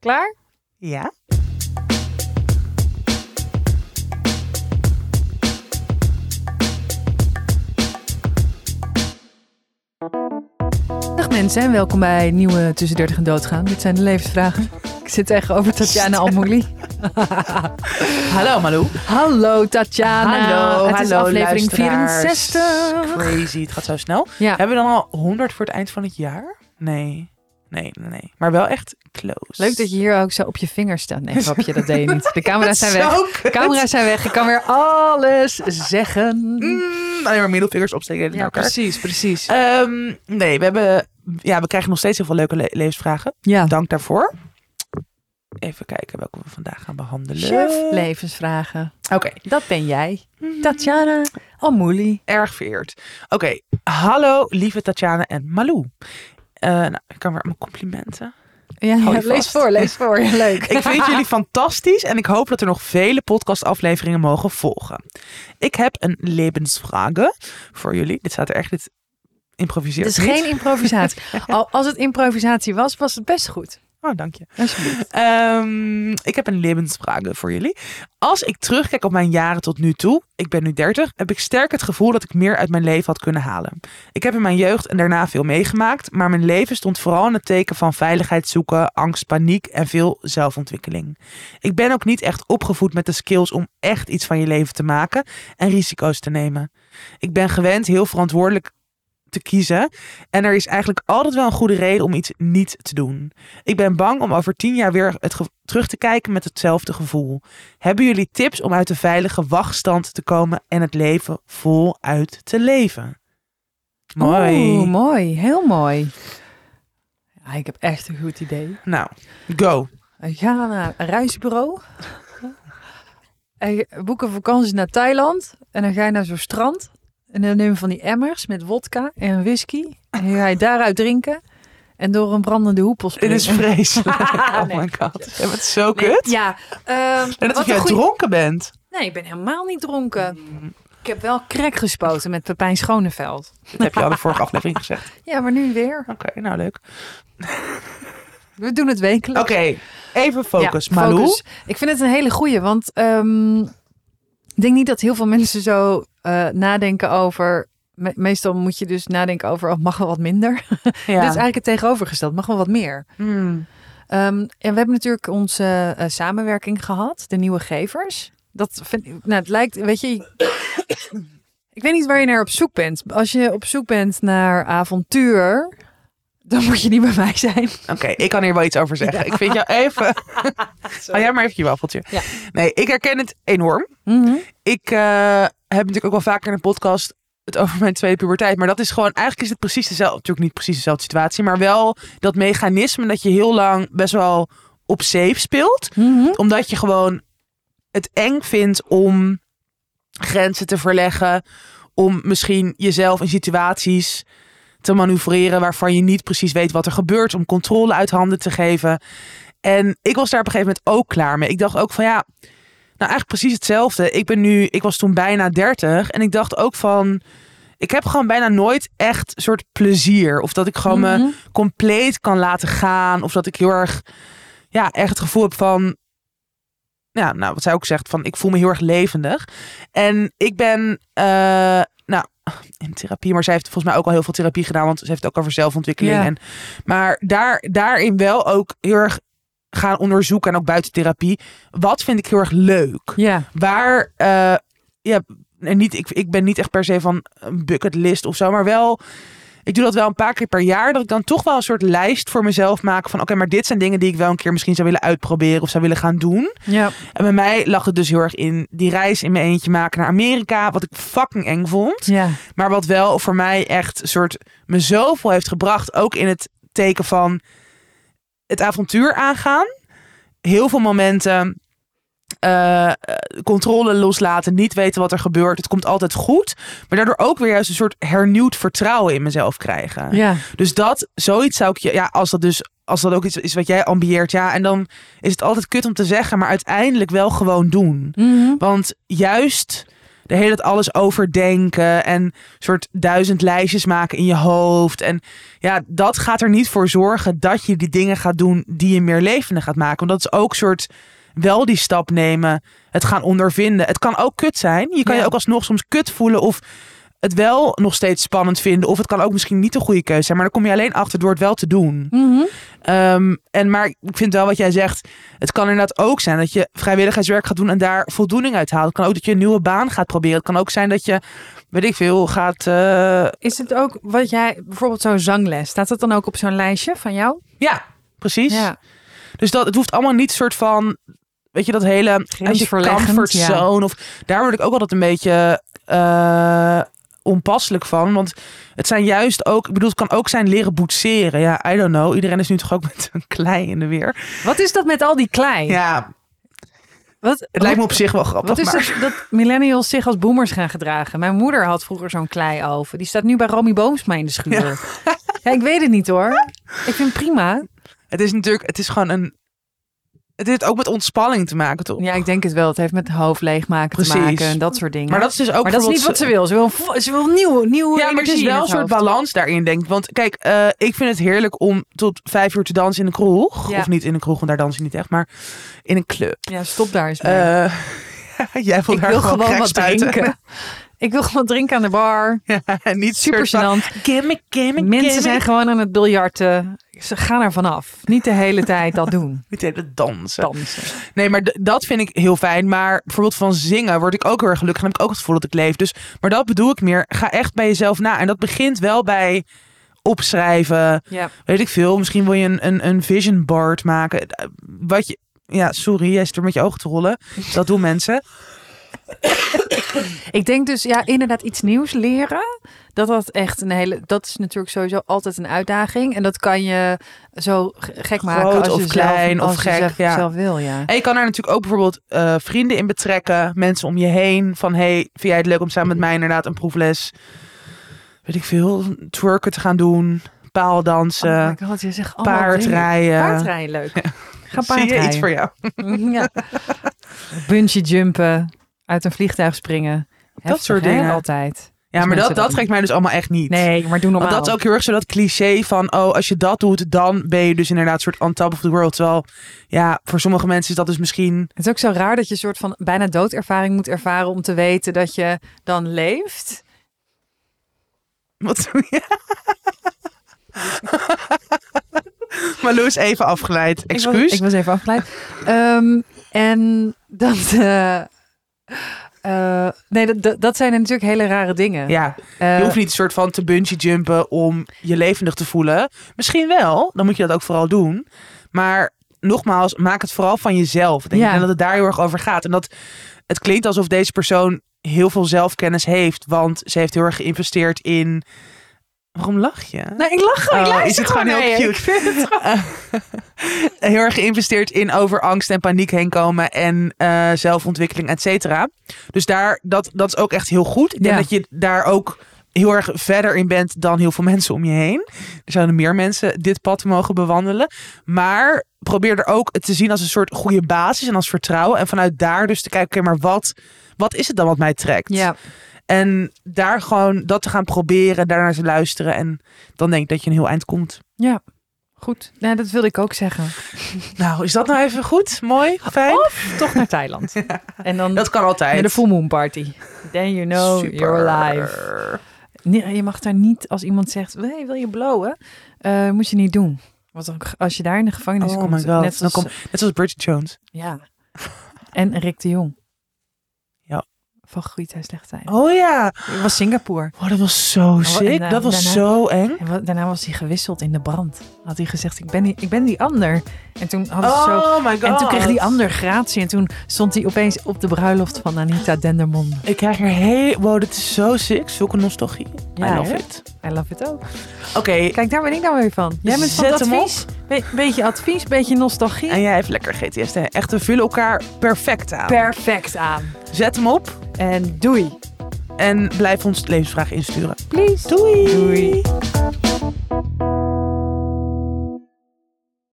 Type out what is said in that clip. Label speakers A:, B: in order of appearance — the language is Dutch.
A: Klaar?
B: Ja.
A: Dag mensen en welkom bij nieuwe Tussen 30 en Doodgaan. Dit zijn de levensvragen. Ik zit tegenover Tatjana Almouli.
C: Hallo Malou.
A: Hallo Tatjana. Het is aflevering
C: luisteraars.
A: 64.
C: Crazy, het gaat zo snel.
A: Ja.
C: Hebben we dan al 100 voor het eind van het jaar? Nee, nee, nee. nee. Maar wel echt close.
A: Leuk dat je hier ook zo op je vingers staat. Nee, grapje, dat deed je niet. De camera's zijn weg.
C: Zo
A: De
C: kut.
A: camera's zijn weg. Ik kan weer alles zeggen.
C: Mm, alleen maar middelvingers opsteken naar
A: Ja,
C: elkaar.
A: precies, precies.
C: Ehm, nee, we, hebben, ja, we krijgen nog steeds heel veel leuke le- levensvragen.
A: Ja.
C: Dank daarvoor. Even kijken welke we vandaag gaan behandelen.
A: Chef levensvragen.
C: Oké.
A: Dat ben jij. Tatjana Almouli.
C: erg vereerd. Oké, hallo lieve Tatjana en Malou. Eh, nou, ik kan weer mijn complimenten.
A: Ja,
C: Hou je
A: lees
C: vast.
A: voor, lees voor. Leuk.
C: Ik vind jullie fantastisch en ik hoop dat er nog vele podcastafleveringen mogen volgen. Ik heb een levensvraag voor jullie. Dit staat er echt, dit improviseert
A: Het is
C: niet.
A: geen improvisatie. Al, als het improvisatie was, was het best goed.
C: Oh, dank je.
A: Alsjeblieft.
C: Ehm, ik heb een levensvraag voor jullie. Als ik terugkijk op mijn jaren tot nu toe, ik ben nu 30, heb ik sterk het gevoel dat ik meer uit mijn leven had kunnen halen. Ik heb in mijn jeugd en daarna veel meegemaakt, maar mijn leven stond vooral in het teken van veiligheid zoeken, angst, paniek en veel zelfontwikkeling. Ik ben ook niet echt opgevoed met de skills om echt iets van je leven te maken en risico's te nemen. Ik ben gewend heel verantwoordelijk te kiezen en er is eigenlijk altijd wel een goede reden om iets niet te doen. Ik ben bang om over tien jaar weer het ge- terug te kijken met hetzelfde gevoel. Hebben jullie tips om uit de veilige wachtstand te komen en het leven voluit te leven? Mooi.
A: Oeh, mooi. Heel mooi. Ja, ik heb echt een goed idee.
C: Nou, go.
A: We gaan naar een reisbureau. En je boek een vakantie naar Thailand. En dan ga je naar zo'n strand. En dan neem je van die emmers met wodka en whisky. En dan ga je daaruit drinken. En door een brandende hoepel
C: Dit
A: springen.
C: is vreselijk. Oh
A: Nee.
C: my god. Je bent zo
A: Nee,
C: kut.
A: Ja. ehm,
C: En dat
A: wat
C: of jij
A: een goeie-
C: dronken bent.
A: Nee, ik ben helemaal niet dronken. Ik heb wel krek gespoten met Pepijn Schoneveld.
C: Dat heb je al in de vorige aflevering gezegd.
A: Ja, maar nu weer.
C: Oké, nou leuk.
A: We doen het wekelijks.
C: Oké, even focus.
A: Ja,
C: Malou.
A: focus. Ik vind het een hele goeie, want ehm, ik denk niet dat heel veel mensen zo eh, nadenken over... me- meestal moet je dus nadenken over, oh, mag wel wat minder?
C: Ja.
A: Dit is eigenlijk het tegenovergesteld, mag wel wat meer?
C: Hmm.
A: Ehm, en we hebben natuurlijk onze eh, samenwerking gehad, de nieuwe gevers. Dat vind ik, nou, het lijkt, weet je, ik weet niet waar je naar op zoek bent. Als je op zoek bent naar avontuur, dan moet je niet bij mij zijn.
C: Oké, ik kan hier wel iets over zeggen. Ik vind jou even... Hou jij maar even je waffeltje.
A: Ja.
C: Nee, ik herken het enorm. ik eh, heb natuurlijk ook wel vaker in een podcast het over mijn tweede puberteit. Maar dat is gewoon, eigenlijk is het precies dezelfde, natuurlijk niet precies dezelfde situatie. Maar wel dat mechanisme dat je heel lang best wel op safe speelt.
A: Mhm.
C: Omdat je gewoon het eng vindt om grenzen te verleggen. Om misschien jezelf in situaties te manoeuvreren waarvan je niet precies weet wat er gebeurt. Om controle uit handen te geven. En ik was daar op een gegeven moment ook klaar mee. Ik dacht ook van ja, nou, eigenlijk precies hetzelfde. Ik ben nu, ik was toen bijna 30 en ik dacht ook van. Ik heb gewoon bijna nooit echt soort plezier. Of dat ik gewoon
A: Mhm.
C: eh, me compleet kan laten gaan. Of dat ik heel erg, ja, echt het gevoel heb van. Ja, nou, wat zij ook zegt, van ik voel me heel erg levendig. En ik ben, eh, nou, in therapie, maar zij heeft volgens mij ook al heel veel therapie gedaan. Want ze heeft het ook over zelfontwikkeling.
A: Ja.
C: En, maar daar, daarin wel ook heel erg gaan onderzoeken. En ook buiten therapie. Wat vind ik heel erg leuk?
A: Ja,
C: Waar, eh, ja, en niet, ik, ik ben niet echt per se van een bucketlist of zo, maar wel, ik doe dat wel een paar keer per jaar, dat ik dan toch wel een soort lijst voor mezelf maak van, oké, maar dit zijn dingen die ik wel een keer misschien zou willen uitproberen of zou willen gaan doen.
A: ja.
C: En bij mij lag het dus heel erg in die reis in mijn eentje maken naar Amerika, wat ik fucking eng vond.
A: ja.
C: Maar wat wel voor mij echt een soort me zoveel heeft gebracht. Ook in het teken van het avontuur aangaan. Heel veel momenten. eh, eh, controle loslaten, niet weten wat er gebeurt. Het komt altijd goed. Maar daardoor ook weer juist een soort hernieuwd vertrouwen in mezelf krijgen.
A: ja.
C: Dus dat, zoiets zou ik je, ja, als dat dus, als dat ook iets is wat jij ambieert, ja. En dan Mhm. is het altijd kut om te zeggen, maar uiteindelijk wel gewoon doen. Want juist de hele tijd alles overdenken en soort duizend lijstjes maken in je hoofd. En ja, dat gaat er niet voor zorgen dat je die dingen gaat doen die je meer levendig gaat maken. Want dat is ook soort wel die stap nemen, het gaan ondervinden. Het kan ook kut zijn. Je kan
A: Ja.
C: je ook alsnog soms kut voelen of het wel nog steeds spannend vinden. Of het kan ook misschien niet de goede keuze zijn. Maar dan kom je alleen achter door het wel te doen.
A: Mhm.
C: Ehm, en maar ik vind wel wat jij zegt. Het kan inderdaad ook zijn dat je vrijwilligerswerk gaat doen en daar voldoening uit haalt. Het kan ook dat je een nieuwe baan gaat proberen. Het kan ook zijn dat je, weet ik veel, gaat. eh,
A: Is het ook wat jij, bijvoorbeeld zo'n zangles, staat dat dan ook op zo'n lijstje van jou?
C: ja, precies.
A: Ja.
C: Dus dat, het hoeft allemaal niet soort van. Weet je, dat hele uit je
A: verleggend,
C: comfortzone. Of, daar word ik ook altijd een beetje eh, onpasselijk van. Want het zijn juist ook... Ik bedoel, het kan ook zijn leren boetseren. Ja, I don't know. Iedereen is nu toch ook met een klei in de weer.
A: Wat is dat met al die klei?
C: Ja,
A: Wat,
C: het lijkt me op zich wel grappig.
A: Wat is
C: maar...
A: het dat millennials zich als boomers gaan gedragen? Mijn moeder had vroeger zo'n klei over. Die staat nu bij Romy Boomsma in de schuur. Ja. ik weet het niet hoor. Ik vind het prima.
C: Het is natuurlijk... Het is gewoon een... Het heeft ook met ontspanning te maken, toch?
A: Ja, ik denk het wel. Het heeft met het hoofd leegmaken te
C: Precies.
A: maken en dat soort dingen.
C: Maar dat is dus ook
A: Maar dat is niet wat
C: bijvoorbeeld-
A: ze wil. Ze wil, vo- ze wil nieuw, nieuwe
C: Ja, maar het is
A: energie in
C: wel een soort
A: hoofd.
C: balans daarin, denk ik. Want kijk, eh, ik vind het heerlijk om tot vijf uur te dansen in een kroeg.
A: Ja.
C: Of niet in een kroeg, want daar dans je niet echt. Maar in een club.
A: Ja, stop daar eens mee.
C: Eh, jij wil
A: ik
C: daar
A: wil
C: gewoon,
A: gewoon wat
C: krijgsbuiten.
A: drinken. Ik wil gewoon drinken aan de bar.
C: Ja, niet
A: Super
C: soort van,
A: gênant.
C: Gimme, gimme,
A: Mensen
C: gimme.
A: zijn gewoon aan het biljarten. Ze gaan er vanaf. Niet de hele tijd dat doen.
C: Niet de hele tijd dansen.
A: Dansen.
C: Nee, maar d- dat vind ik heel fijn. Maar bijvoorbeeld van zingen word ik ook heel erg gelukkig. En heb ik ook het gevoel dat ik leef. Dus, maar dat bedoel ik meer. Ga echt bij jezelf na. En dat begint wel bij opschrijven.
A: Ja.
C: Weet ik veel. Misschien wil je een, een, een vision board maken. Eh, Wat je... Ja, sorry. Jij zit er met je ogen te rollen. Dat doen mensen.
A: Ik denk dus, ja, inderdaad iets nieuws leren. Dat dat echt een hele. Dat is natuurlijk sowieso altijd een uitdaging. En dat kan je zo g- gek maken
C: Groot
A: als
C: of
A: je zelf-
C: klein
A: als
C: of
A: je
C: gek,
A: zelf,
C: ja.
A: zelf wil, ja.
C: En je kan daar natuurlijk ook bijvoorbeeld eh, vrienden in betrekken. Mensen om je heen. Van, hey, vind jij het leuk om samen met mij inderdaad een proefles... Weet ik veel. Twerken te gaan doen. Paaldansen.
A: Oh my god, je zegt allemaal dingen.
C: paardrijden.
A: Paardrijden, leuk. Ga
C: Zie je
A: paardrijden.
C: iets voor jou?
A: ja. Bungee jumpen, uit een vliegtuig springen. Heftig,
C: soort
A: hè,
C: dingen.
A: altijd.
C: Ja, maar
A: mensen
C: dat, dat
A: dan.
C: trekt mij dus allemaal echt niet.
A: Nee, maar doe normaal.
C: Want dat is ook heel erg zo dat cliché van, oh, als je dat doet, dan ben je dus inderdaad soort on top of the world. Terwijl, ja, voor sommige mensen is dat dus misschien...
A: Het is ook zo raar dat je een soort van bijna doodervaring moet ervaren om te weten dat je dan leeft.
C: Wat doe je? maar Lou is even afgeleid.
A: Ik
C: Excuus.
A: was, ik was even afgeleid. Ehm, en dat. eh, eh, nee, dat- dat, dat zijn natuurlijk hele rare dingen.
C: Ja,
A: Eh,
C: je hoeft niet een soort van te bungee jumpen om je levendig te voelen. Misschien wel, dan moet je dat ook vooral doen. Maar nogmaals, maak het vooral van jezelf. Denk
A: Ja.
C: ik. En dat het daar heel erg over gaat. En dat het klinkt alsof deze persoon heel veel zelfkennis heeft, want ze heeft heel erg geïnvesteerd in. Waarom lach je?
A: Nee, ik lach gewoon.
C: Oh,
A: ik luister
C: is het gewoon heel
A: naar je.
C: cute.
A: Ik vind het gewoon-
C: heel erg geïnvesteerd in over angst en paniek heen komen en eh, zelfontwikkeling, et cetera. Dus daar, dat, dat is ook echt heel goed. Ik denk
A: Ja.
C: dat je daar ook heel erg verder in bent dan heel veel mensen om je heen. Er zouden meer mensen dit pad mogen bewandelen. Maar probeer er ook het te zien als een soort goede basis en als vertrouwen. En vanuit daar dus te kijken, oké, maar wat, wat is het dan wat mij trekt?
A: Ja,
C: En daar gewoon dat te gaan proberen, daarnaar te luisteren. En dan denk ik dat je een heel eind komt.
A: ja. Goed. Nee, dat wilde ik ook zeggen.
C: Nou, is dat nou even goed? Mooi? Fijn?
A: Of toch naar Thailand. En dan
C: Dat kan altijd.
A: naar de full moon party. Then you know you're alive. Nee, je mag daar niet als iemand zegt, hey, wil je blowen? Eh, moet je niet doen. Want dan- als je daar in de gevangenis
C: Oh
A: komt,
C: my god.
A: net
C: Dan
A: zoals
C: kom, net zoals Bridget Jones.
A: Ja. En Rick de Jong.
C: Ja.
A: Van Groeit hij Slecht Zijn.
C: Oh ja.
A: Het was Singapore.
C: Oh, dat was zo sick.
A: en, eh,
C: dat was
A: daarna-
C: zo eng.
A: En wa- daarna was hij gewisseld in de brand. Had hij gezegd, ik ben die, ik ben die ander. En toen hadden ze zo...
C: Oh my god.
A: En toen kreeg die ander gratie. En toen stond hij opeens op de bruiloft van Anita Dendermonde.
C: Ik krijg er heel... Wow, dit is zo sick. Zulke nostalgie.
A: Ja,
C: I love
A: hè?
C: it.
A: I love it ook.
C: Oké.
A: Kijk, daar ben ik nou weer van. Jij bent van
C: Zet
A: het
C: hem op.
A: advies. Be- beetje advies, beetje nostalgie.
C: En jij heeft lekker GTS. hè? Echt, we vullen elkaar perfect aan.
A: nou. Perfect aan.
C: Zet hem op.
A: En doei.
C: En blijf ons levensvragen insturen.
A: Please.
C: Doei.
A: Doei.